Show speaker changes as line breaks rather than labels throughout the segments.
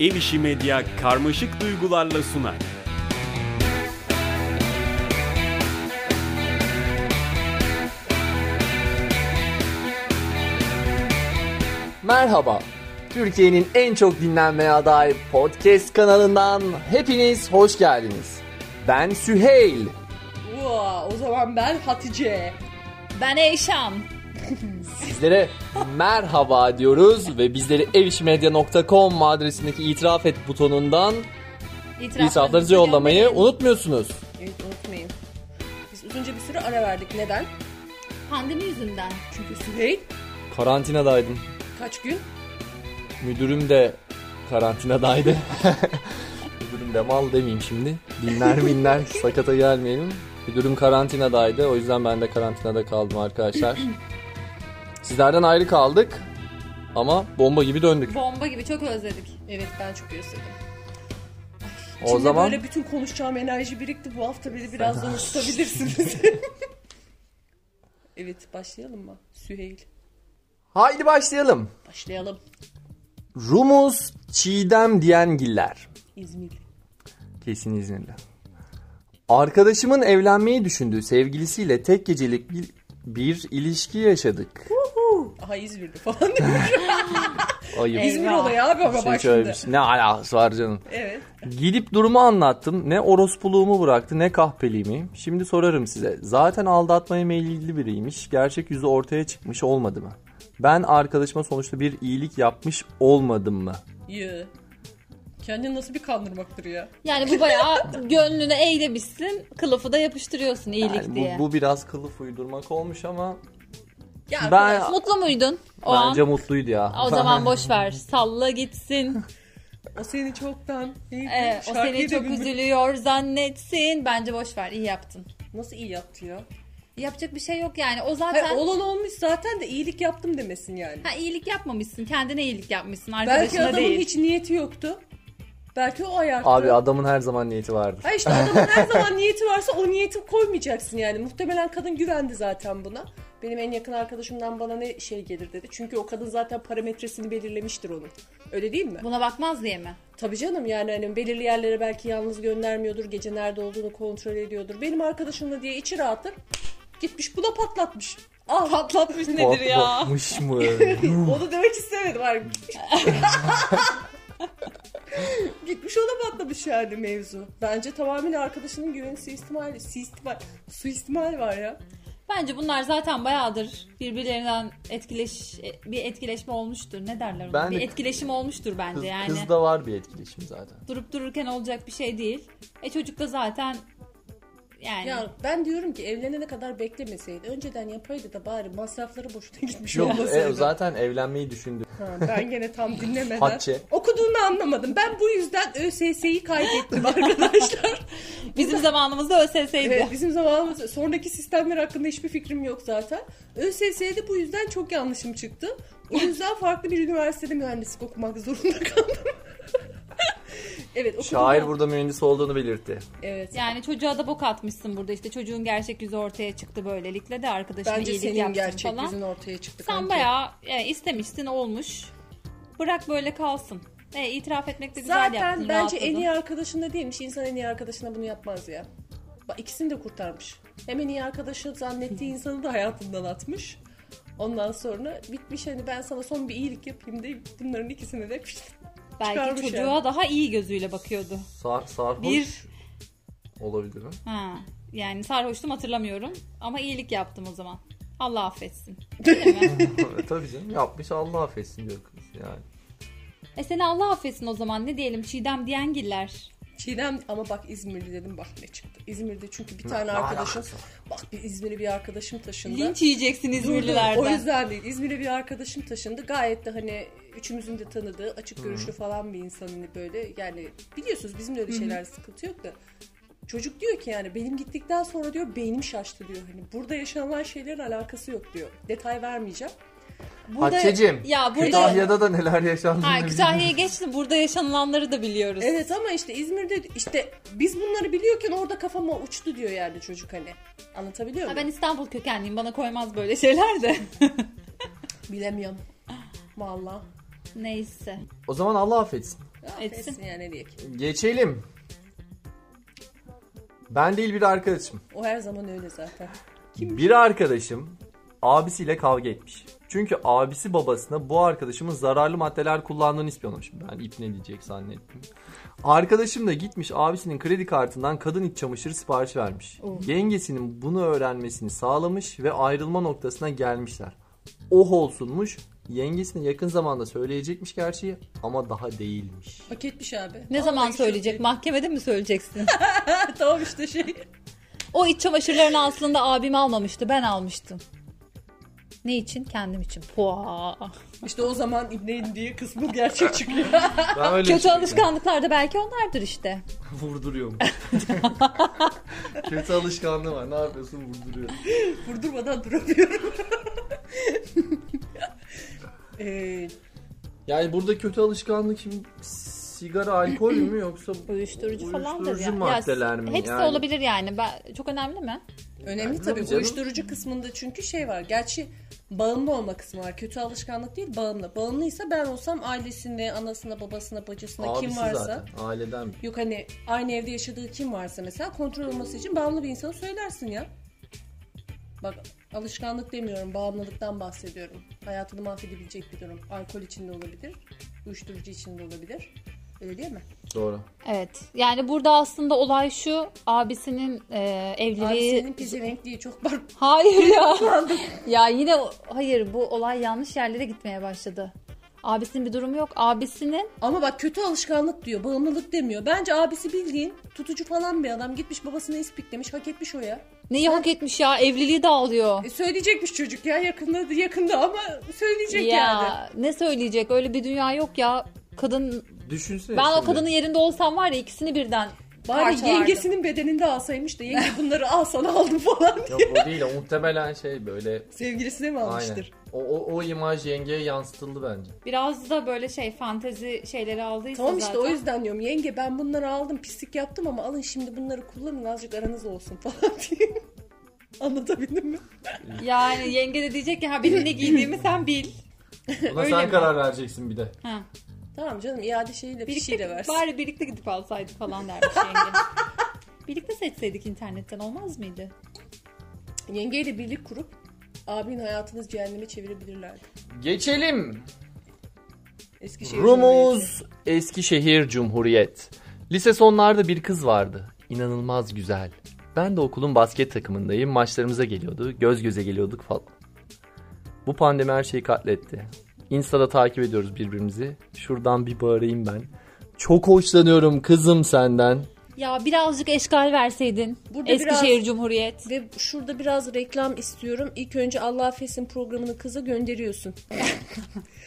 Ev İşi Medya karmaşık duygularla sunar.
Merhaba. Türkiye'nin en çok dinlenmeye aday podcast kanalından hepiniz hoş geldiniz. Ben Süheyl.
Wow, o zaman ben Hatice.
Ben Eyşan.
Sizlere merhaba diyoruz ve bizleri evişmedya.com adresindeki itiraf et butonundan itiraflarınızı yollamayı unutmuyorsunuz.
Evet unutmayın. Biz uzunca bir süre ara verdik. Neden?
Pandemi yüzünden.
Çünkü Süheyl
Karantinadaydım.
kaç gün?
Müdürüm de karantinadaydı. Müdürüm de mal demeyeyim şimdi. Dinler minler sakata gelmeyelim. Müdürüm karantinadaydı. O yüzden ben de karantinada kaldım arkadaşlar. Sizlerden ayrı kaldık. Ama bomba gibi döndük.
Bomba gibi çok özledik.
Evet ben çok özledim.
O
Şimdi
zaman
böyle bütün konuşacağım enerji birikti. Bu hafta beni birazdan ısıtabilirsiniz. evet başlayalım mı? Süheyl.
haydi başlayalım.
Başlayalım.
Rumuz Çiğdem Diyengiller.
İzmir.
Kesin İzmirli. Arkadaşımın evlenmeyi düşündüğü sevgilisiyle tek gecelik bir, bir ilişki yaşadık.
Aha İzmir'de falan demiş.
Ayıp.
İzmir
Eyvah.
olayı abi ama
Şey
bak
şöyle
şimdi.
bir şey. Ne alakası var canım.
Evet.
Gidip durumu anlattım. Ne orospuluğumu bıraktı ne kahpeliğimi. Şimdi sorarım size. Zaten aldatmaya meyilli biriymiş. Gerçek yüzü ortaya çıkmış olmadı mı? Ben arkadaşıma sonuçta bir iyilik yapmış olmadım mı?
Yı. Kendini nasıl bir kandırmaktır ya?
Yani bu bayağı gönlünü eğlemişsin, kılıfı da yapıştırıyorsun iyilik
Yani
diye.
bu, bu biraz kılıf uydurmak olmuş ama
Ya
Ben-
ben...
Mutlu muydun o
bence
an?
mutluydu ya.
O zaman boş ver. Salla gitsin.
o seni çoktan... neydi?
Ee, o
Şarkıyı
seni
da
çok
bilmiyorum.
üzülüyor zannetsin. Bence boş ver. İyi yaptın.
Nasıl iyi yaptı ya?
Yapacak bir şey yok yani. O
Hayır,
zaten
olan olmuş zaten de iyilik yaptım demesin yani.
ha, iyilik yapmamışsın. Kendine iyilik yapmışsın.
Belki
Arkadaşına
adamın
değil.
hiç niyeti yoktu. Belki o ayarttı.
Abi adamın her zaman niyeti vardır.
Ha işte adamın her zaman niyeti varsa o niyeti koymayacaksın yani. Muhtemelen kadın güvendi zaten buna. Benim en yakın arkadaşımdan bana ne şey gelir dedi. Çünkü o kadın zaten parametresini belirlemiştir onun. Öyle değil mi?
Buna bakmaz diye mi?
Tabii canım yani hani belirli yerlere belki yalnız göndermiyordur. Gece nerede olduğunu kontrol ediyordur. Benim arkadaşımla diye içi rahatır. Gitmiş buna patlatmış. Ah patlatmış
Nedir Korkmuş mu?
Onu demek istemedim var. Gitmiş ona patlamış yani mevzu. Bence tamamen arkadaşının güveni suistimali, suistimal, suistimal var ya.
Bence bunlar zaten bayağıdır birbirlerinden etkileş e, bir etkileşme olmuştur. Ne derler ona?
Ben de-
bir etkileşim olmuştur bence
Kız,
yani.
kızda var bir etkileşim zaten.
Durup dururken olacak bir şey değil. E çocuk da zaten yani
Ya ben diyorum ki evlenene kadar beklemeseydi. Önceden yapaydı da bari masrafları boşuna gitmiş
Yok
olmasaydı.
e, zaten evlenmeyi düşündü.
Ha, ben gene tam dinlemeden
Hatçe.
okuduğunu anlamadım. Ben bu yüzden ÖSS'yi kaybettim arkadaşlar.
bizim zamanımızda ÖSS'ydi.
Evet, bizim zamanımız sonraki sistemler hakkında hiçbir fikrim yok zaten. ÖSS'de bu yüzden çok yanlışım çıktı. O yüzden farklı bir üniversitede mühendislik okumak zorunda kaldım. evet okudum.
Şair
ben.
burada mühendis olduğunu belirtti.
Evet.
Yani çocuğa da bok atmışsın burada işte çocuğun gerçek yüzü ortaya çıktı böylelikle de arkadaşına
Bence
iyilik
senin
yaptın
gerçek
falan.
yüzün ortaya çıktı.
Sen
kanki.
bayağı e, istemişsin olmuş. Bırak böyle kalsın. E, itiraf etmek de güzel
Zaten
yaptın.
bence en
rahatladın.
iyi arkadaşında değilmiş. İnsan en iyi arkadaşına bunu yapmaz ya. Bak ikisini de kurtarmış. Hem en iyi arkadaşı zannettiği insanı da hayatından atmış. Ondan sonra bitmiş hani ben sana son bir iyilik yapayım deyip bunların ikisini de
Belki
çıkarmış
çocuğa
yani.
daha iyi gözüyle bakıyordu.
Sar, sarhoş
Bir-
olabilir mi?
Ha, yani sarhoştum hatırlamıyorum ama iyilik yaptım o zaman. Allah affetsin.
E, Tabii canım yapmış Allah affetsin diyor kız yani.
E seni Allah affetsin o zaman ne diyelim Çiğdem Diyengiller.
Çiğdem ama bak İzmirli dedim bak ne çıktı. İzmir'de çünkü bir
Ne-
tane
ne
arkadaşım
alakası var?
bak bir İzmir'e bir arkadaşım taşındı.
Linç yiyeceksin
Dur, dur,
İzmirlilerden.
O yüzden değil. İzmir'e bir arkadaşım taşındı. Gayet de hani üçümüzün de tanıdığı açık görüşlü falan bir insan hani böyle yani biliyorsunuz bizim de öyle şeyler sıkıntı yok da çocuk diyor ki yani benim gittikten sonra diyor beynim şaştı diyor. Hani burada yaşanılan şeylerin alakası yok diyor. Detay vermeyeceğim.
Burada-
Hatice'cim,
Ya burada...
Kütahya'da da neler yaşandığını
Hayır
biliyorum.
Kütahya'ya geçtim burada yaşanılanları da biliyoruz.
Evet ama işte İzmir'de işte biz bunları biliyorken orada kafama uçtu diyor yani çocuk hani. Anlatabiliyor
Ha,
muyum?
ben İstanbul kökenliyim bana koymaz böyle şeyler de.
Bilemiyorum. Vallahi
Neyse.
O zaman Allah affetsin.
Ya,
Etsin.
Etsin yani ne diyeyim ki?
Geçelim. Ben değil bir arkadaşım.
O her zaman öyle zaten.
Bir arkadaşım abisiyle kavga etmiş. Çünkü abisi babasına bu arkadaşımın zararlı maddeler kullandığını ispiyonlamış. Ben ip ne diyecek zannettim. Arkadaşım da gitmiş abisinin kredi kartından kadın iç çamaşırı sipariş vermiş. Yengesinin bunu öğrenmesini sağlamış ve ayrılma noktasına gelmişler. Oh olsunmuş. Yengesine yakın zamanda söyleyecekmiş gerçeği ama daha değilmiş.
Hak etmiş abi.
Ne zaman
Vallahi
söyleyecek?
çok
Mahkemede mi söyleyeceksin?
iyi. tamam işte şey.
o iç çamaşırlarını aslında abim almamıştı. Ben almıştım. Ne için? Kendim için. Pua.
İşte o zaman İbne'in diye kısmı gerçek çıkıyor.
Ben öyle şey
Kötü
düşünüyorum.
alışkanlıklar da belki onlardır işte.
Vurduruyorum. Kötü alışkanlığı var. Ne yapıyorsun vurduruyorum.
Vurdurmadan duramıyorum. Ee,
Yani burada kötü alışkanlık şimdi sigara, alkol mü yoksa
Uyuşturucu falan da
uyuşturucu maddeler mi?
Hepsi
yani?
olabilir yani. Ben, çok önemli mi?
önemli
Tabii
tabii
canım.
uyuşturucu kısmında çünkü şey var. Gerçi bağımlı olma kısmı var. Kötü alışkanlık değil bağımlı. Bağımlıysa ben olsam ailesine, anasına, babasına, bacısına
Abisi
kim varsa.
zaten aileden.
Yok hani aynı evde yaşadığı kim varsa mesela kontrol olması için bağımlı bir insana söylersin ya. Bak alışkanlık demiyorum, bağımlılıktan bahsediyorum. Hayatını mahvedebilecek bir durum. Alkol içinde olabilir, uyuşturucu içinde olabilir. Öyle değil mi?
Doğru.
Evet. Yani burada aslında olay şu. Abisinin e, evliliği...
Abi senin pezevenk diye çok var.
Hayır ya. ya yine o- hayır bu olay yanlış yerlere gitmeye başladı. Abisinin bir durumu yok. Abisinin
Ama bak kötü alışkanlık diyor, bağımlılık demiyor. Bence abisi bildiğin tutucu falan bir adam. Gitmiş babasını ispiklemiş, hak etmiş o ya.
neyi hak etmiş ya? Evliliği dağılıyor.
E söyleyecekmiş çocuk ya yakında yakında ama söyleyecek yani.
Ya ne söyleyecek? Öyle bir dünya yok ya. Kadın
Düşünsene.
ben o
şimdi.
kadının yerinde olsam var ya ikisini birden
Bari
parçalardım.
yengesinin bedeninde alsaymış da yenge bunları al sana aldım falan.
Yok o değil. O muhtemelen şey böyle.
Sevgilisine mi
Aynen.
almıştır?
O, o, o imaj yengeye yansıtıldı bence.
biraz da böyle şey fantezi şeyleri aldıysa
Tamam işte
zaten.
o yüzden diyorum yenge ben bunları aldım pislik yaptım ama alın şimdi bunları kullanın azıcık aranız olsun falan diye. Anlatabildim mi?
Yani yenge de diyecek ki ha benim ne giydiğimi sen bil.
Buna
Öyle
sen
mi?
karar vereceksin bir de.
Ha.
Tamam canım iade şeyiyle bir
Birlikte,
şeyle versin.
bari birlikte gidip alsaydı falan dermiş yenge. birlikte seçseydik internetten olmaz mıydı?
Yengeyle birlik kurup abinin hayatınız cehenneme çevirebilirlerdi.
Geçelim.
Eskişehir Cumhuriyeti.
Rumuz Eskişehir Cumhuriyet. Lise sonlarda bir kız vardı. İnanılmaz güzel. Ben de okulun basket takımındayım. Maçlarımıza geliyordu. Göz göze geliyorduk falan. Bu pandemi her şeyi katletti. Insta'da takip ediyoruz birbirimizi. Şuradan bir bağırayım ben. Çok hoşlanıyorum kızım senden.
Ya birazcık eşgal verseydin.
Burada
Eskişehir
biraz-
Cumhuriyet.
Ve şurada biraz reklam istiyorum. İlk önce Allah affetsin programını kıza gönderiyorsun.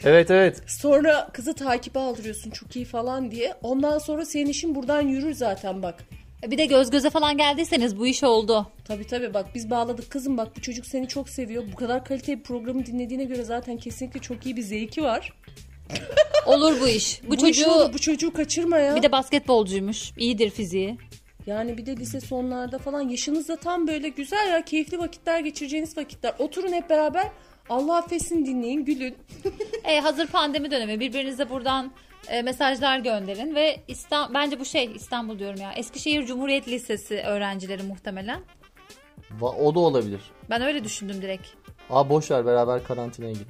Evet evet.
Sonra kızı takibe aldırıyorsun çok iyi falan diye. Ondan sonra senin işin buradan yürür zaten bak.
E, Bir de göz göze falan geldiyseniz bu iş oldu.
Tabii tabii bak biz bağladık kızım bak bu çocuk seni çok seviyor. Bu kadar kaliteli bir programı dinlediğine göre zaten kesinlikle çok iyi bir zevki var.
Olur bu iş. Bu,
işin
çocuğu
olur, bu çocuğu kaçırma ya.
bir de basketbolcuymuş. İyidir fiziği.
Yani bir de lise sonlarda falan yaşınızda tam böyle güzel ya keyifli vakitler geçireceğiniz vakitler. Oturun hep beraber Allah affetsin dinleyin gülün.
E, hazır pandemi dönemi. Birbirinize buradan e, mesajlar gönderin ve İstan bence bu şey İstanbul diyorum ya. Eskişehir Cumhuriyet Lisesi öğrencileri muhtemelen.
o da olabilir.
Ben öyle düşündüm direkt.
Aa boş ver beraber karantinaya gidelim.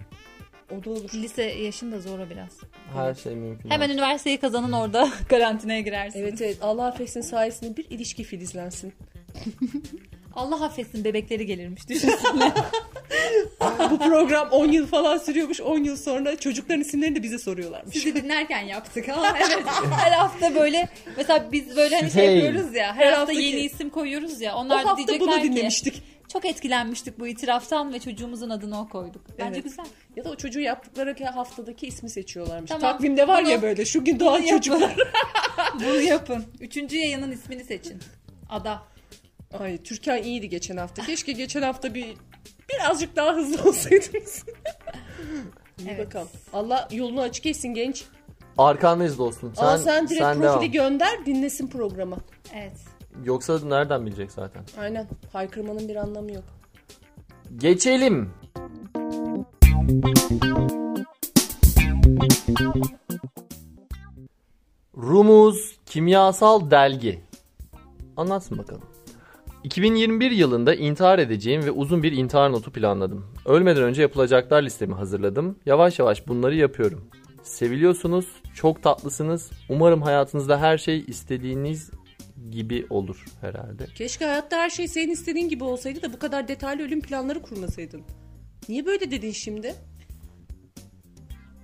O da olur.
Lise yaşında zora biraz.
Her şey mümkün.
Hemen üniversiteyi kazanın orada karantinaya girersin.
Evet evet Allah affetsin sayesinde bir ilişki filizlensin.
Allah affetsin bebekleri gelirmiş. Düşünsene.
bu program 10 yıl falan sürüyormuş. 10 yıl sonra çocukların isimlerini de bize soruyorlarmış.
Sizi dinlerken yaptık ama evet. Her hafta böyle mesela biz böyle hani şey
Hey.
yapıyoruz ya. Her,
Her
hafta
haftaki-
yeni isim koyuyoruz ya.
O
Onlar da
hafta
diyecekler
bunu
ki
dinlemiştik.
çok etkilenmiştik bu itiraftan ve çocuğumuzun adını o koyduk. Bence
Evet.
güzel.
Ya da o çocuğu yaptıkları haftadaki ismi seçiyorlarmış.
Tamam.
Takvimde var
Bunu-
ya böyle şu gün doğan çocuklar.
Bunu yapın. Üçüncü yayının ismini seçin. Ada.
Ay Türkan iyiydi geçen hafta. Keşke geçen hafta bir birazcık daha hızlı olsaydınız. İyi
Evet.
bakalım. Allah yolunu açık etsin genç.
Arkandayız dostum. Sen,
Aa, sen direkt
sen
profili
devam.
gönder dinlesin programı.
Evet.
Yoksa nereden bilecek zaten?
Aynen. Haykırmanın bir anlamı yok.
Geçelim. Rumuz kimyasal delgi. Anlatsın bakalım. 2021 yılında intihar edeceğim ve uzun bir intihar notu planladım. Ölmeden önce yapılacaklar listemi hazırladım. Yavaş yavaş bunları yapıyorum. Seviliyorsunuz, çok tatlısınız. Umarım hayatınızda her şey istediğiniz gibi olur herhalde.
Keşke hayatta her şey senin istediğin gibi olsaydı da bu kadar detaylı ölüm planları kurmasaydın. Niye böyle dedin şimdi?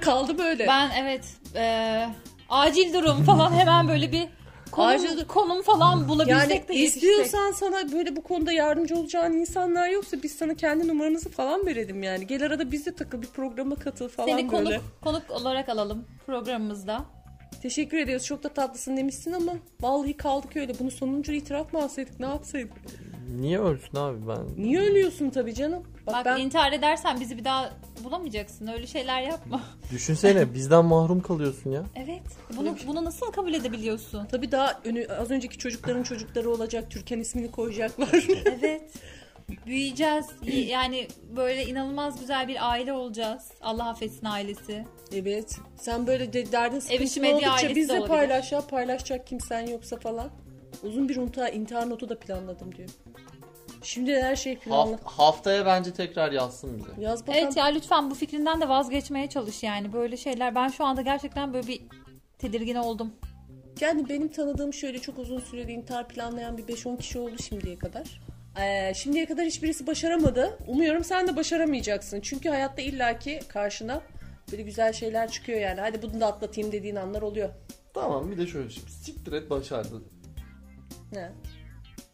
Kaldım öyle.
Ben evet e, acil durum falan hemen böyle bir konum,
Acil-
konum falan
yani
bulabilsek de yetişsek.
istiyorsan sana böyle bu konuda yardımcı olacağın insanlar yoksa biz sana kendi numaranızı falan verelim yani. Gel arada biz de takıl bir programa katıl falan
Seni konuk,
böyle.
konuk olarak alalım programımızda.
Teşekkür ediyoruz çok da tatlısın demişsin ama vallahi kaldık öyle. Bunu sonuncu itiraf mı alsaydık ne yapsaydık?
Niye ölsün abi ben?
Niye ölüyorsun tabii canım? Bak,
Bak,
ben
intihar edersen bizi bir daha bulamayacaksın. Öyle şeyler yapma.
Düşünsene bizden mahrum kalıyorsun ya.
Evet. Bunu bunu nasıl kabul edebiliyorsun?
tabii daha önü, az önceki çocukların çocukları olacak. Türkan ismini koyacaklar.
Evet. Büyüyeceğiz. Yani böyle inanılmaz güzel bir aile olacağız. Allah affetsin ailesi.
Evet. Sen böyle de derdin
işi
sıkıntın
medya
oldukça
ailesi de
bizle
olabilir.
paylaş ya paylaşacak kimsen yoksa falan. Uzun bir unta, intihar notu da planladım diyor. Şimdi her şey planlı.
haftaya bence tekrar yazsın bize.
Yaz bakalım.
Evet ya lütfen bu fikrinden de vazgeçmeye çalış yani. Böyle şeyler. Ben şu anda gerçekten böyle bir tedirgin oldum.
Yani benim tanıdığım şöyle çok uzun süreli intihar planlayan bir 5-10 kişi oldu şimdiye kadar. Ee, şimdiye kadar hiçbirisi başaramadı. Umuyorum sen de başaramayacaksın. Çünkü hayatta illaki karşına böyle güzel şeyler çıkıyor yani. Hadi bunu da atlatayım dediğin anlar oluyor.
Tamam bir de şöyle şey. Siktir et başardın.
He.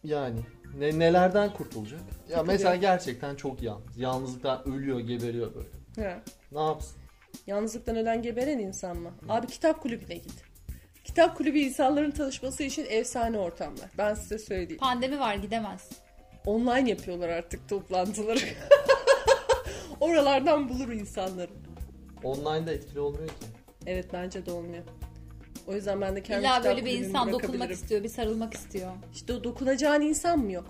Yani ne, nelerden kurtulacak? Ya mesela gerçekten çok yalnız. Yalnızlıktan ölüyor, geberiyor böyle.
He.
Ne yapsın?
Yalnızlıktan ölen geberen insan mı? Abi kitap kulübüne git. Kitap kulübü insanların tanışması için efsane ortamlar. Ben size söyleyeyim.
Pandemi var gidemez.
Online yapıyorlar artık toplantıları. Oralardan bulur insanları.
Online'da etkili olmuyor ki.
Evet bence de olmuyor. O yüzden ben de kendi
İlla
kitap
böyle bir
kulübümü
insan dokunmak
bırakabilirim.
istiyor, bir sarılmak istiyor.
İşte o dokunacağın insan mı yok?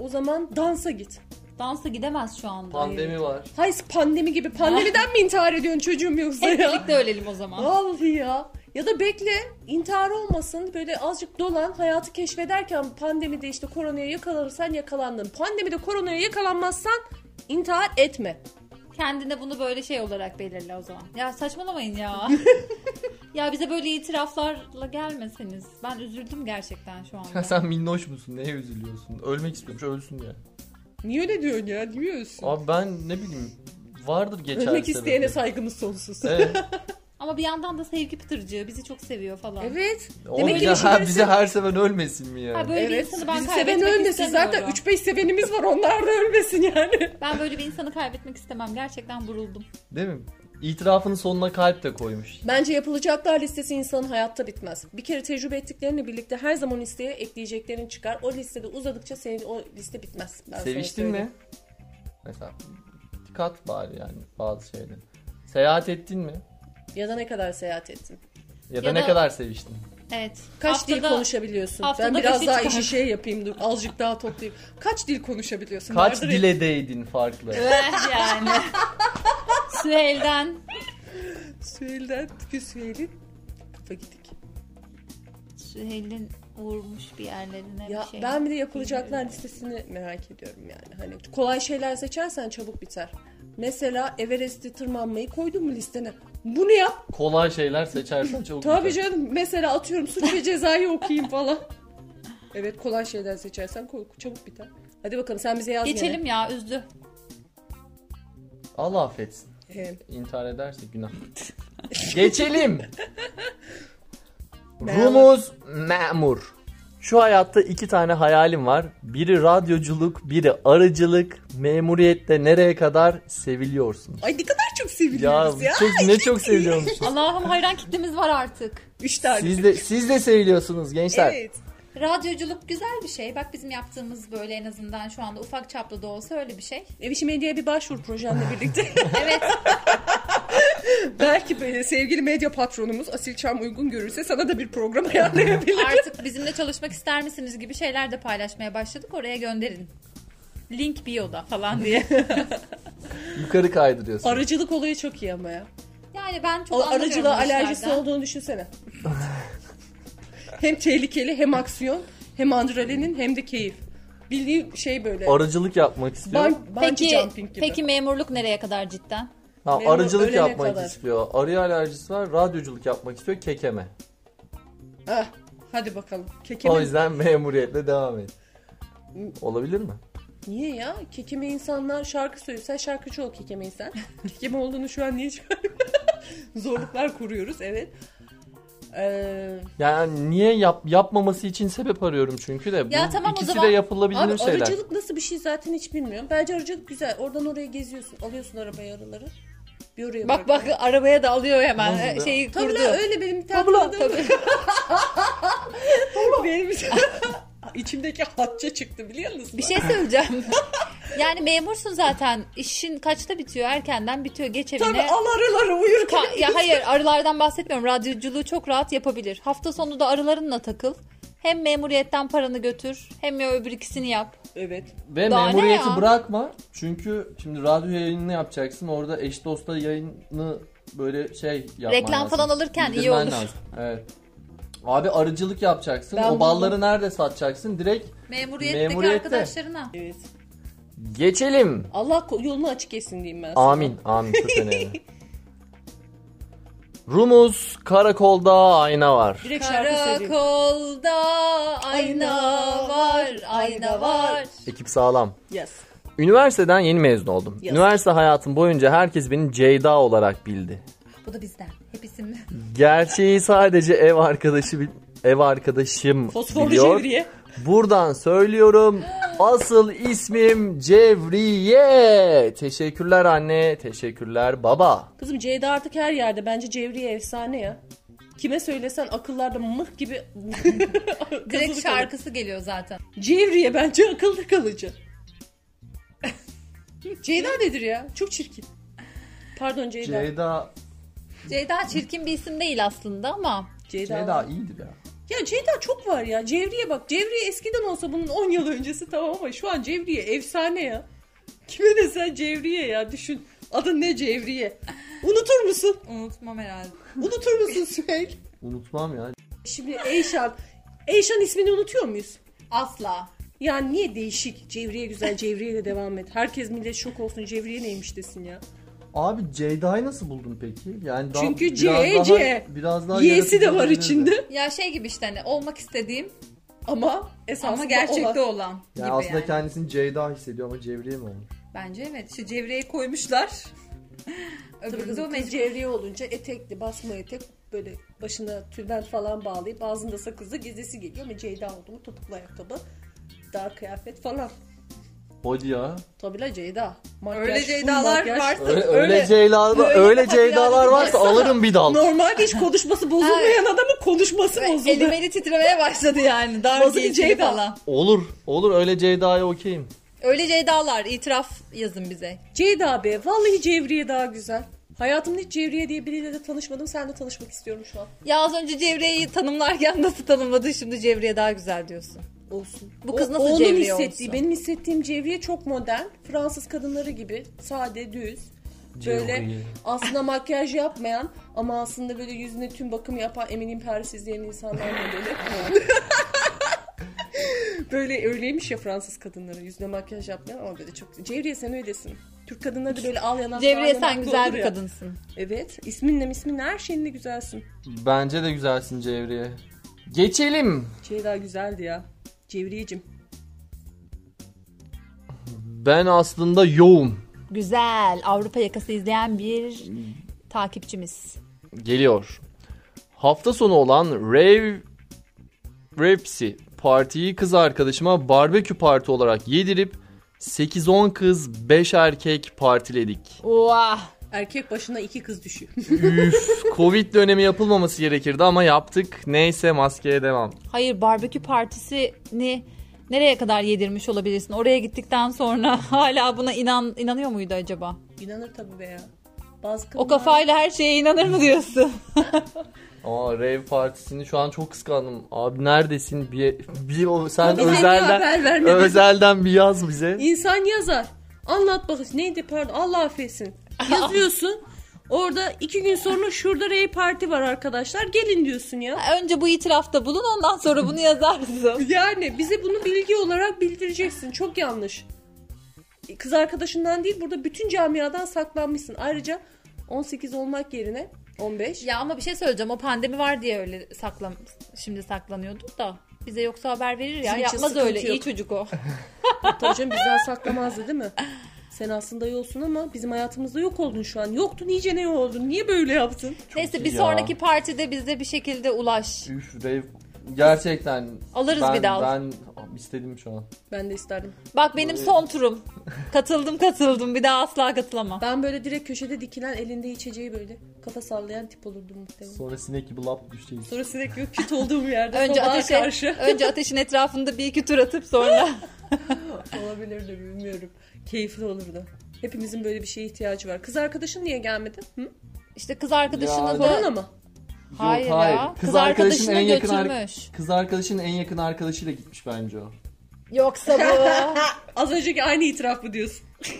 O zaman dansa git.
Dansa gidemez şu anda.
Pandemi var.
Hay pandemi gibi pandemiden mi intihar ediyorsun çocuğum yoksa
Hep
ya?
birlikte ölelim o zaman.
Vallahi ya. Ya da bekle intihar olmasın böyle azıcık dolan hayatı keşfederken pandemide işte koronaya yakalanırsan yakalandın. Pandemide koronaya yakalanmazsan intihar etme.
Kendine bunu böyle şey olarak belirle o zaman. Ya saçmalamayın ya. ya bize böyle itiraflarla gelmeseniz. Ben üzüldüm gerçekten şu anda.
Sen minnoş musun? Neye üzülüyorsun? Ölmek istiyormuş, ölsün ya.
Niye öyle diyorsun ya? Niye ölsün?
Abi ben ne bileyim, vardır geçer
Ölmek isteyene
sebepleri.
saygımız sonsuz.
Evet.
Ama bir yandan da sevgi pıtırcığı bizi çok seviyor falan.
Evet.
O
ki şey
bize,
düşünürsün-
bize her seven ölmesin mi yani?
Ha, böyle bir
Evet.
insanı ben
Bizi
kaybetmek
seven ölmesin.
istemiyorum.
Zaten 3-5 sevenimiz var. Onlar da ölmesin yani.
Ben böyle bir insanı kaybetmek istemem. Gerçekten vuruldum.
Değil mi? İtirafın sonuna kalp de koymuş.
Bence yapılacaklar listesi insanın hayatta bitmez. Bir kere tecrübe ettiklerinle birlikte her zaman listeye ekleyeceklerin çıkar. O listede uzadıkça senin o liste bitmez. Ben sana
Seviştin
söyleyeyim.
mi? Mesela dikkat bari yani bazı şeylere. Seyahat ettin mi?
Ya da ne kadar seyahat ettin?
Ya da
Ya
ne
da-
kadar seviştin?
Evet.
Kaç dil
Haftada
konuşabiliyorsun?
haftada
Ben biraz
beşi
daha
çıkar.
işi şey yapayım dur. Azıcık daha toplayayım. Kaç dil konuşabiliyorsun?
Kaç
Vardır ya-
dile değdin farklı?
Eh yani. Süheyl'den.
Süheyl'den. Çünkü Süheyl'in kafa gidik.
Süheyl'in vurmuş bir yerlerine
Ya
bir şey.
ben bir de yapılacaklar listesini merak ediyorum yani. Hani kolay şeyler seçersen çabuk biter. Mesela Everest'i tırmanmayı koydun mu listene? Bunu yap.
Kolay şeyler seçersen çok
Tabii
güzel.
canım. Mesela atıyorum suç ve cezayı okuyayım falan. Evet kolay şeyler seçersen koy, çabuk biter. Hadi bakalım sen bize yaz. gene.
Geçelim ya üzdü.
Allah affetsin.
Ee,
İntihar ederse günah. Geçelim.
Memur.
Rumuz memur. Şu hayatta iki tane hayalim var. Biri radyoculuk, biri arıcılık. Memuriyette nereye kadar seviliyorsun?
Ay ne kadar çok
Ya,
seviliyoruz ya.
çok, ne çok seviyormuş.
Allah'ım hayran kitlemiz var artık.
Üç tane.
Siz de siz de seviliyorsunuz gençler.
Evet.
Radyoculuk güzel bir şey. Bak bizim yaptığımız böyle en azından şu anda ufak çaplı da olsa öyle bir şey.
Ev işi medyaya bir başvur projenle birlikte.
Evet.
Belki böyle sevgili medya patronumuz Asil Çam uygun görürse sana da bir program ayarlayabilir.
Artık bizimle çalışmak ister misiniz gibi şeyler de paylaşmaya başladık. Oraya gönderin. Link bio'da falan diye.
Yukarı kaydırıyorsunuz.
Arıcılık olayı çok iyi ama ya.
yani ben çok
O
anlamıyorum
aracılığa
bu işlerden.
alerjisi olduğunu düşünsene. hem tehlikeli hem aksiyon hem adrenalin hem de keyif. Bildiğin şey böyle.
Arıcılık yapmak istiyor.
Ban- bungee
Peki,
jumping gibi.
peki memurluk nereye kadar cidden?
Ha,
memur
arıcılık
ölene
yapmak
kadar.
istiyor. Arı alerjisi var. Radyoculuk yapmak istiyor. Kekeme.
Ah, hadi bakalım. Kekeme.
O yüzden memuriyetle devam et. Olabilir mi?
Niye ya? Kekeme insanlar şarkı söylüyor. Sen şarkıcı ol kekeme insan. kekeme olduğunu şu an niye çıkarmıyor? Zorluklar kuruyoruz evet. Ee,
Yani niye yap yapmaması için sebep arıyorum çünkü de. Bu
Ya tamam o
ikisi
zaman.
de yapılabilir
abi
şeyler.
arıcılık nasıl bir şey zaten hiç bilmiyorum. Bence arıcılık güzel. Oradan oraya geziyorsun. Alıyorsun arabaya arıları. Bir oraya
Bak bak arabaya da alıyor hemen
Nasıl
e,
ya?
şeyi
Tabii
kurdu.
lan, öyle benim bir tane
Tablo,
tanıdığım- Benim içimdeki hatça çıktı biliyor musun?
Bir şey söyleyeceğim. yani memursun zaten. İşin kaçta bitiyor? Erkenden bitiyor. Geç evine.
Tabii al arıları uyur.
Ka- ya hayır arılardan bahsetmiyorum. Radyoculuğu çok rahat yapabilir. Hafta sonu da arılarınla takıl. Hem memuriyetten paranı götür hem ya öbür ikisini yap.
Evet.
Ve
Daha ne
memuriyeti
ya?
bırakma. Çünkü şimdi radyo yayınını yapacaksın. Orada eş dosta yayını böyle şey yapman
Reklam
lazım.
falan alırken iyi
Bildirmen
olur.
lazım. Evet. Abi arıcılık yapacaksın.
Ben
o balları nerede satacaksın? Direkt
Memuriyetteki
Memuriyette.
arkadaşlarına.
Evet.
geçelim.
Allah ko- yolunu açık etsin diyeyim ben. sana.
Amin. Amin. Çok önemli. Rumuz karakolda ayna var.
Direkt şarkı söyleyeyim.
Karakolda ayna var, ayna var.
Ekip sağlam.
Yes.
Üniversiteden yeni mezun oldum.
Yazık.
Üniversite hayatım boyunca herkes beni Ceyda olarak bildi.
Bu da bizden. Hep isimli.
Gerçeği sadece ev arkadaşı bil- ev arkadaşım
Fosforlu
biliyor.
çeviriye.
Buradan söylüyorum. Asıl ismim Cevriye. Teşekkürler anne, teşekkürler baba.
Kızım Ceyda artık her yerde. Bence Cevriye efsane ya. Kime söylesen akıllarda mıh gibi
Direkt
Kazılı kalır.
şarkısı geliyor zaten.
Cevriye bence akılda kalıcı. Ceyda nedir ya? Çok çirkin. Pardon Ceyda.
Ceyda
Ceyda çirkin bir isim değil aslında ama
Ceyda.
Ceyda iyidir ya.
Ya Ceyda çok var ya. Cevriye bak. Cevriye eskiden olsa bunun 10 yıl öncesi tamam ama şu an Cevriye efsane ya. Kime desen Cevriye ya düşün. Adın ne Cevriye? Unutur musun?
unutmam herhalde.
Unutur musun Süheyl?
Unutmam ya.
Şimdi Eyşan. Eyşan ismini unutuyor muyuz?
Asla.
Yani niye değişik? Cevriye güzel, Cevriye ile devam et. Herkes millet şok olsun, Cevriye neymiş desin ya.
Abi Ceyda'yı nasıl buldun peki? Yani daha,
Çünkü
biraz
C,
daha-
C.
Biraz daha
Y'si de var
yaratıcı olabilirdi.
içinde
Ya şey gibi işte hani olmak istediğim
ama esasında
ama gerçekte
olan.
olan, gibi
Yani aslında
yani.
kendisini Ceyda hissediyor ama Cevriye mi olmuş?
Bence evet. Şu cevreyi koymuşlar.
Tabii
Öbürü de o
kızım, kız
mecbur.
Cevriye olunca etekli, basma etek böyle başına tülbent falan bağlayıp ağzında sakızla gezesi geliyor ama Ceyda oldu mu topuklu ayakkabı, dar kıyafet falan.
Hadi ya.
Tabii la Ceyda. Makyaj,
Öyle
full
Ceydalar
makyaj.
varsa
Öyle,
öyle-
öyle, Ceyda-
böyle
öyle
kafa
Ceydalar
planı
varsa
baksana.
alırım bir dal.
Normalde hiç konuşması bozulmayan adamın konuşması bozuldu.
elim eli titremeye başladı yani. Dar
Nasıl
giysili
Ceyda?
falan.
Olur. Olur öyle Ceyda'ya okeyim.
Öyle Ceydalar itiraf yazın bize.
Ceyda be vallahi Cevriye daha güzel. Hayatımda hiç Cevriye diye biriyle de tanışmadım. Seninle tanışmak istiyorum şu an.
Ya az önce Cevre'yi tanımlarken nasıl tanımladın şimdi Cevre'ye daha güzel diyorsun.
Olsun.
Bu kız nasıl
onun
Cevriye
hissettiği,
olsun?
Benim hissettiğim Cevriye çok modern. Fransız kadınları gibi. Sade, düz. Böyle
Cevriye.
aslında makyaj yapmayan ama aslında böyle yüzüne tüm bakımı yapan eminim Paris izleyen insanlar modeli. böyle öyleymiş ya Fransız kadınları. Yüzüne makyaj yapmayan ama böyle çok... Cevriye sen öylesin. Türk kadınları da böyle al yanak
Cevriye
sağ yanak
sen güzel
olur
bir
ya.
kadınsın.
Evet. İsminle isminle her şeyinle güzelsin.
Bence de güzelsin Cevriye. Geçelim.
Ceyda Şey güzeldi ya. Cevriyecim.
Ben aslında yoğum.
Güzel. Avrupa yakası izleyen bir takipçimiz.
Geliyor. Hafta sonu olan Rave Rapsi partiyi kız arkadaşıma barbekü parti olarak yedirip 8-10 kız 5 erkek partiledik.
Vah.
Erkek başına iki kız düşüyor.
Üf, Covid dönemi yapılmaması gerekirdi ama yaptık. Neyse maskeye devam.
Hayır barbekü partisini nereye kadar yedirmiş olabilirsin? Oraya gittikten sonra hala buna inan inanıyor muydu acaba?
İnanır tabii be ya. Bazı
O
kadınlar-
kafayla her şeye inanır mı diyorsun?
Aa rave partisini şu an çok kıskandım. Abi neredesin? Bir, bir o- sen
Bize niye
özelden
haber vermedin?
özelden bir yaz bize.
İnsan yazar. Anlat bakış neydi pardon Allah affetsin. Yazıyorsun. Orada iki gün sonra şurada rey parti var arkadaşlar. Gelin diyorsun ya.
Önce bu itirafta bulun ondan sonra bunu yazarsın.
Yani bize bunu bilgi olarak bildireceksin. Çok yanlış. E, Kız arkadaşından değil burada bütün camiadan saklanmışsın. Ayrıca 18 olmak yerine 15.
ya ama bir şey söyleyeceğim o pandemi var diye öyle saklan şimdi saklanıyordu da bize yoksa haber verir ya
Bizim için
yapmaz
sıkıntı
öyle
yok.
iyi çocuk o.
Tabii canım bizden saklamazdı değil mi? Sen aslında yoksun ama bizim hayatımızda yok oldun şu an. Yoktun iyice ne oldun? Niye böyle yaptın?
Neyse
iyi
bir
ya.
sonraki partide bize bir şekilde ulaş.
Üf rave gerçekten
Alırız
ben,
bir daha.
Ben istedim şu an.
Ben de isterdim.
Bak benim son turum. Katıldım katıldım bir daha asla katılamam.
Ben böyle direkt köşede dikilen elinde içeceği böyle kafa sallayan tip olurdum muhtemelen.
Sonra sinek gibi lap düşeceğiz.
Sonra sürekli yok pit olduğum yerde
Önce
sabaha
ateşe,
karşı
önce ateşin etrafında bir iki tur atıp sonra
olabilirdi bilmiyorum. Keyifli olurdu. Hepimizin böyle bir şeye ihtiyacı var. Kız arkadaşın niye gelmedi? Hı?
işte kız arkadaşını
Ya,
da
Korona mı?
Hayır,
Yok,
ya. Kız,
arkadaşın
arkadaşını
ar-
götürmüş.
kız arkadaşın en yakın arkadaşıyla gitmiş bence o.
Yoksa bu.
Az önceki aynı itiraf mı diyorsun?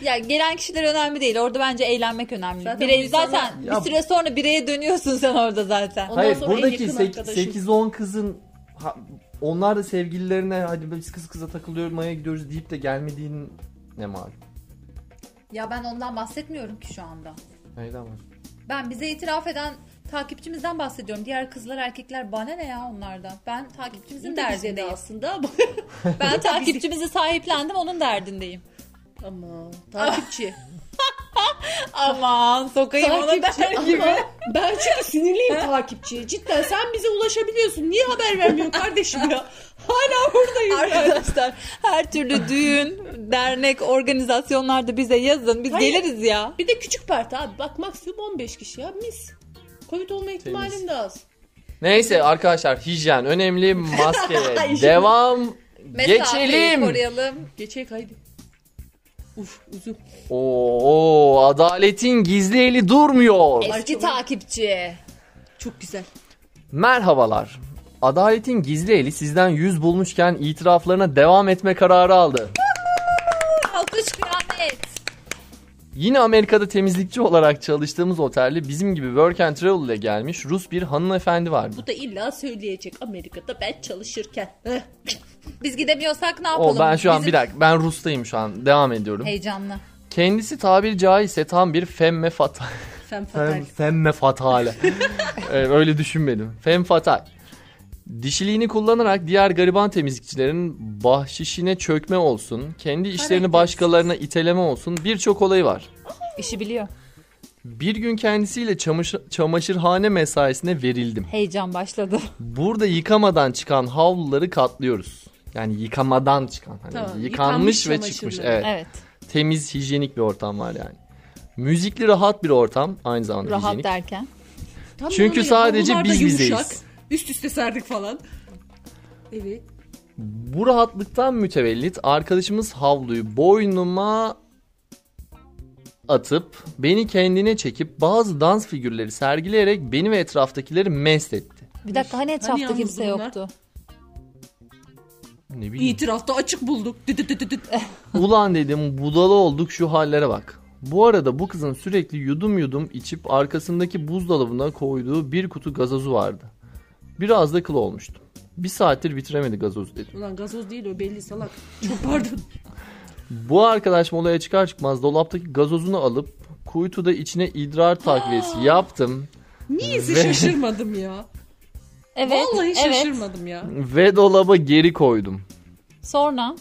ya gelen kişiler önemli değil. Orada bence eğlenmek önemli.
Zaten
Birey-
bu insanlar-
zaten
Ya-
bir süre sonra bireye dönüyorsun sen orada zaten.
Ondan
Hayır
sonra en
buradaki
yakın
sek-
arkadaşım.
8-10 kızın ha- onlar da sevgililerine hadi biz kız kıza takılıyoruz maya gidiyoruz deyip de gelmediğin ne malum.
Ya ben ondan bahsetmiyorum ki şu anda.
Neyden var?
Ben bize itiraf eden takipçimizden bahsediyorum. Diğer kızlar erkekler bana ne ya onlardan. Ben takipçimizin
Bizim derdinde
derdindeyim.
aslında ama.
Ben takipçimizi sahiplendim onun derdindeyim.
Ama takipçi.
Aman sokayım ona der gibi.
ama ben çok sinirliyim takipçiye. Cidden sen bize ulaşabiliyorsun. Niye haber vermiyor kardeşim ya? Hala buradayız.
Arkadaşlar her türlü düğün, dernek, organizasyonlarda bize yazın. Biz
Hayır.
geliriz ya.
Bir de küçük parti abi. Bak maksimum 15 kişi ya. Mis. Covid olma ihtimalin
Temiz.
de az.
Neyse arkadaşlar hijyen önemli maskeye devam
Mesafeyi
geçelim.
koruyalım.
Geçek haydi. Uf uzun.
Oo adaletin gizli eli durmuyor.
Eski
çok-
takipçi.
Çok güzel.
Merhabalar. Adaletin gizli eli sizden yüz bulmuşken itiraflarına devam etme kararı aldı.
Alkış kıyamet.
Yine Amerika'da temizlikçi olarak çalıştığımız otelde bizim gibi work and travel ile gelmiş Rus bir hanımefendi vardı.
Bu da illa söyleyecek Amerika'da ben çalışırken.
Biz gidemiyorsak ne yapalım?
O ben şu an
Bizim-
bir dakika ben Rus'tayım şu an devam ediyorum.
Heyecanlı.
Kendisi tabiri caizse tam bir femme fatale.
Fem fatal.
femme fatale. Ee, öyle düşünmedim. Femme fatal. Dişiliğini kullanarak diğer gariban temizlikçilerin bahşişine çökme olsun, kendi işlerini başkalarına iteleme olsun birçok olayı var.
İşi biliyor.
Bir gün kendisiyle çamaşır, çamaşırhane mesaisine verildim.
Heyecan başladı.
Burada yıkamadan çıkan havluları katlıyoruz. Yani yıkamadan çıkan. Hani
Tamam,
yıkanmış,
yıkanmış
ve çıkmış.
çamaşırları.
Evet.
Evet.
Temiz, hijyenik bir ortam var yani. Müzikli rahat bir ortam aynı zamanda
Rahat
hijyenik.
derken.
Tam
Çünkü
böyle
sadece
havlular da
biz bizeyiz.
Üst üste serdik falan. Evet.
Bu rahatlıktan mütevellit arkadaşımız havluyu boynuma atıp beni kendine çekip bazı dans figürleri sergileyerek beni ve etraftakileri mest etti.
Bir dakika hani etrafta
yalnız
kimse
bunlar?
yoktu.
Ne bileyim.
İtirafta açık bulduk. Dı dı dı dı dı.
Ulan dedim budala olduk şu hallere bak. Bu arada bu kızın sürekli yudum yudum içip arkasındaki buzdolabına koyduğu bir kutu gazozu vardı. Biraz da kıl olmuştu. Bir saattir bitiremedi gazozu dedim.
Ulan gazoz değil o belli salak. Çok pardon.
Bu arkadaş molaya çıkar çıkmaz dolaptaki gazozunu alıp kuytuda içine idrar takviyesi yaptım
Niyeyse
Ve-
şaşırmadım ya.
Evet.
Vallahi
evet.
şaşırmadım ya.
ve dolaba geri koydum.
Sonra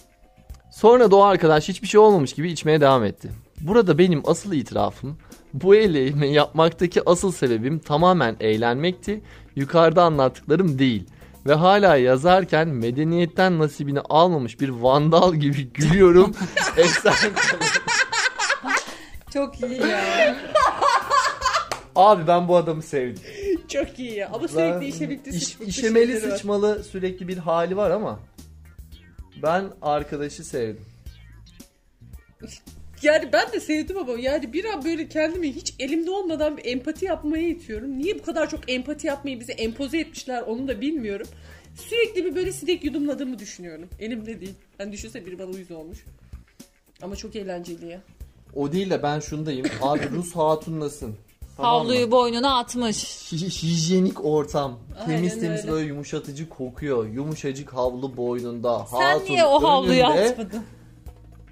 Sonra da o arkadaş hiçbir şey olmamış gibi içmeye devam etti. Burada benim asıl itirafım bu eylemi yapmaktaki asıl sebebim tamamen eğlenmekti. Yukarıda anlattıklarım değil. Ve hala yazarken medeniyetten nasibini almamış bir vandal gibi gülüyorum. Efsane.
Çok iyi ya.
Abi ben bu adamı sevdim.
Çok iyi ya. Ama sürekli işemekte
İş-
sıçmış
işemeli
şeyleri var.
sıçmalı sürekli bir hali var ama ben arkadaşı sevdim.
Yani ben de sevdim ama yani bir an böyle kendimi hiç elimde olmadan bir empati yapmaya itiyorum. Niye bu kadar çok empati yapmayı bize empoze etmişler onu da bilmiyorum. Sürekli bir böyle sinek yudumladığımı Hani düşünüyorum. Elimde değil. Yani düşünse biri bana uyuz olmuş. Ama çok eğlenceli ya.
O değil de ben şundayım. Abi Rus hatunlasın. Tamam mı?
Havluyu boynuna atmış.
Hi- hijyenik ortam.
Aynen
Temiz temiz
öyle.
böyle yumuşatıcı kokuyor. Yumuşacık havlu boynunda.
Sen
hatun
niye o havluyu
önünde
atmadın?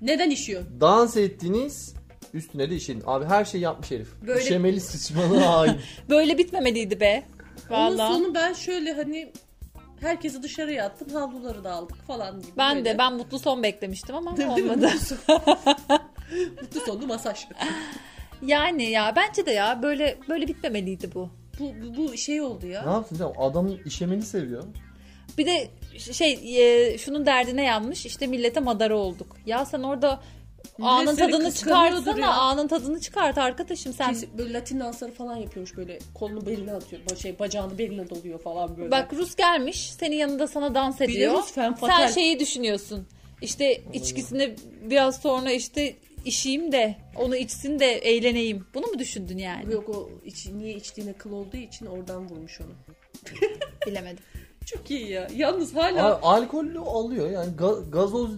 Neden işiyor?
Dans ettiniz. Üstüne de işin. Abi her şeyi yapmış herif.
Böyle-
Üşemeli sıçmalı hain.
Böyle bitmemeliydi be.
Onun
Vallahi.
sonu ben şöyle hani herkesi dışarıya attım havluları da aldık falan gibi.
Ben
böyle.
de ben mutlu son beklemiştim ama
Değil mi?
olmadı.
Mutlu sonlu masaj.
Yani ya bence de ya böyle böyle bitmemeliydi bu.
bu, bu, bu şey oldu ya.
ne yapsın canım? Adam işemeli seviyor.
Bir de ş- şey e, şunun derdine yanmış işte millete madara olduk. Ya sen orada
Millet
anın
seni
tadını
kıskanıyordur
çıkartsana
ya.
anın tadını çıkart arkadaşım sen.
Kesin böyle Latin dansları falan yapıyormuş böyle kolunu beline atıyor. ba- Şey bacağını beline doluyor falan böyle.
Bak Rus gelmiş senin yanında sana dans
de
ediyor.
Rus fen
Sen şey-
fatal.
şeyi düşünüyorsun işte içkisini biraz sonra işte işeyim de onu içsin de eğleneyim. Bunu mu düşündün yani?
Yok o iç, niye içtiğine kıl olduğu için oradan vurmuş onu.
Bilemedim.
Çok iyi ya. Yalnız hala
A- alkollü alıyor yani ga- gazoz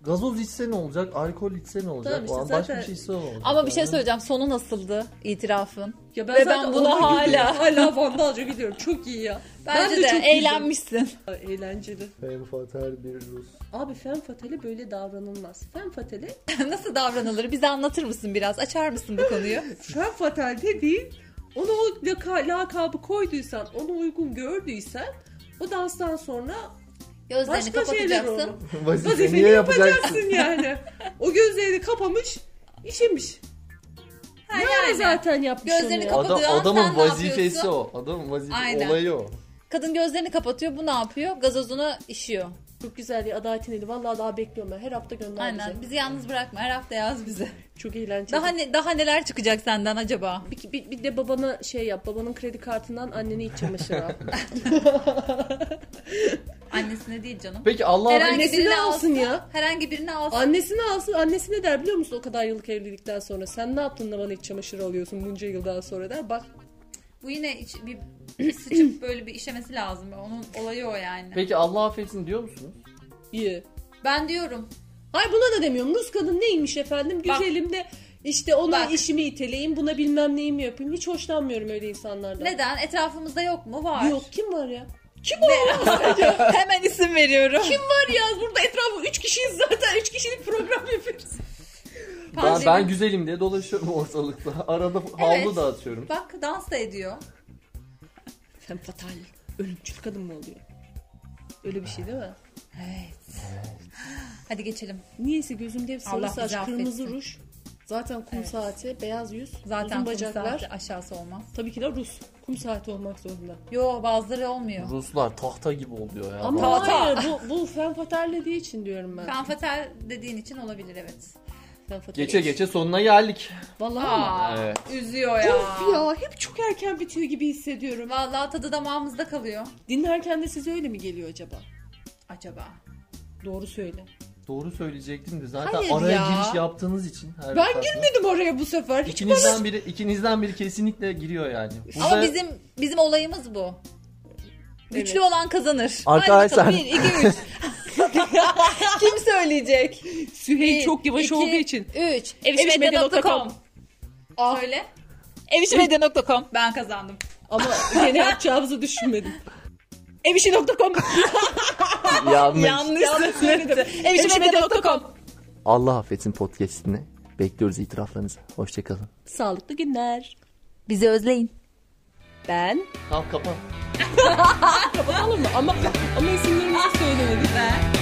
gazoz içse ne olacak? Alkol içse ne olacak?
Tamam işte
O an
zaten-
Başka bir şey içse ne olacak?
Ama bir şey
Yani.
söyleyeceğim sonu nasıldı itirafın?
ya ben
Ve
zaten
ben buna
ona
hala-
gidiyorum. hala vandalca gidiyorum. Çok iyi ya.
Bence
ben
de,
çok
eğlenmişsin.
güldüm. Eğlenceli.
Femme fatale bir Rus.
Abi fen fatale böyle davranılmaz. Fen fatale
Nasıl davranılır? Bize anlatır mısın biraz? Açar mısın bu konuyu?
fen fatale dediğin ona o laka- lakabı koyduysan, ona uygun gördüysen o danstan sonra
Gözlerini
başka şeyler olur.
kapatacaksın.
Vazife
Vazifeni
niye yapacaksın?
yapacaksın yani. O gözlerini kapamış, işemiş.
Ha,
Ne ara
yani.
zaten yapmış
Gözlerini
onu ya?
kap-
Adam,
Kapatıyor, sen
adamın
ne
vazifesi o. Adamın vazife
Aynen.
olayı o.
Kadın gözlerini kapatıyor. Bu ne yapıyor? Gazozuna işiyor.
Çok güzel ya Adalet'in eli. Vallahi daha bekliyorum ben. Her hafta gönder
Aynen.
bize.
Bizi yalnız bırakma. Her hafta yaz bize.
Çok eğlenceli.
Daha ne, daha neler çıkacak senden acaba?
bir, bir, bir de babana şey yap. Babanın kredi kartından anneni iç çamaşırı al.
Annesine değil canım.
Peki Allah'ın
Herhangi- annesini alsın ya.
Herhangi birini alsın.
Annesini alsın. Annesi ne der biliyor musun o kadar yıllık evlilikten sonra? Sen ne yaptın da bana iç çamaşırı alıyorsun bunca yıldan sonra der. Bak
Bu yine iç- bir bir sıçıp böyle bir işemesi lazım. Onun olayı o yani.
Peki Allah affetsin diyor musunuz?
iyi.
Ben diyorum.
Hayır buna da demiyorum. Rus kadın neymiş efendim?
Bak.
Güzelim de işte ona
Bak.
işimi iteleyeyim, buna bilmem neyimi yapayım. Hiç hoşlanmıyorum öyle insanlardan.
Neden? Etrafımızda yok mu? Var.
Yok kim var ya?
Hemen isim veriyorum.
Var ya burada etrafı 3 kişiyiz zaten. 3 kişilik program yapıyoruz.
Ben,
Pandemi.
ben güzelim diye dolaşıyorum ortalıkta. Arada havlu
Evet.
dağıtıyorum.
Bak dans da ediyor.
Femme fatale. Ölümcül kadın mı oluyor? Öyle bir şey değil mi?
Evet. Hadi geçelim.
Niyeyse gözümde hep sarı
Allah
saç,
bizi
kırmızı
affetsin.
ruj. Zaten kum saati, beyaz yüz,
Zaten
uzun
kum
bacaklar.
saati aşağısı olmaz.
Tabii ki de Rus. Kum saati olmak zorunda.
Yo bazıları olmuyor.
Ruslar tahta gibi oluyor ya.
Ama
tamam.
hayır bu, bu femme fatale diye için diyorum ben.
Kanfatel dediğin için olabilir evet.
Femme fatale.
Geçe geçe sonuna geldik.
Vallahi ama.
Aa,
Evet.
üzüyor ya.
Of ya hep çok erken bitiyor gibi hissediyorum.
Vallahi tadı damağımızda kalıyor.
Dinlerken de size öyle mi geliyor acaba?
Acaba.
Doğru söyle.
Doğru söyleyecektim de zaten
Hayır
araya
ya.
giriş yaptığınız için. Her
Ben
defasında.
Dedim oraya bu sefer. Hiç
İkinizden biri, ikinizden biri kesinlikle giriyor yani.
Ama bizim bizim olayımız bu. Güçlü olan kazanır.
Arkadaşlar-
Hadi bakalım, bir, iki, üç. Kim söyleyecek?
Süheyl
Bir,
Şey, çok yavaş
iki,
olduğu için.
Üç. Evişmedya.com Söyle. Evişmedya.com Ben kazandım.
Ama gene yapacağımızı düşünmedim. Evişi.com
Yanlış.
Yanlış söyledim. Evişmedya.com
Allah affetsin podcastini. Bekliyoruz itiraflarınızı. Hoşçakalın.
Sağlıklı günler.
Bizi özleyin.
Ben.
Tamam kapat.
Kapatalım mı? Ama, ama isimlerimizi söylemedik.
Ben.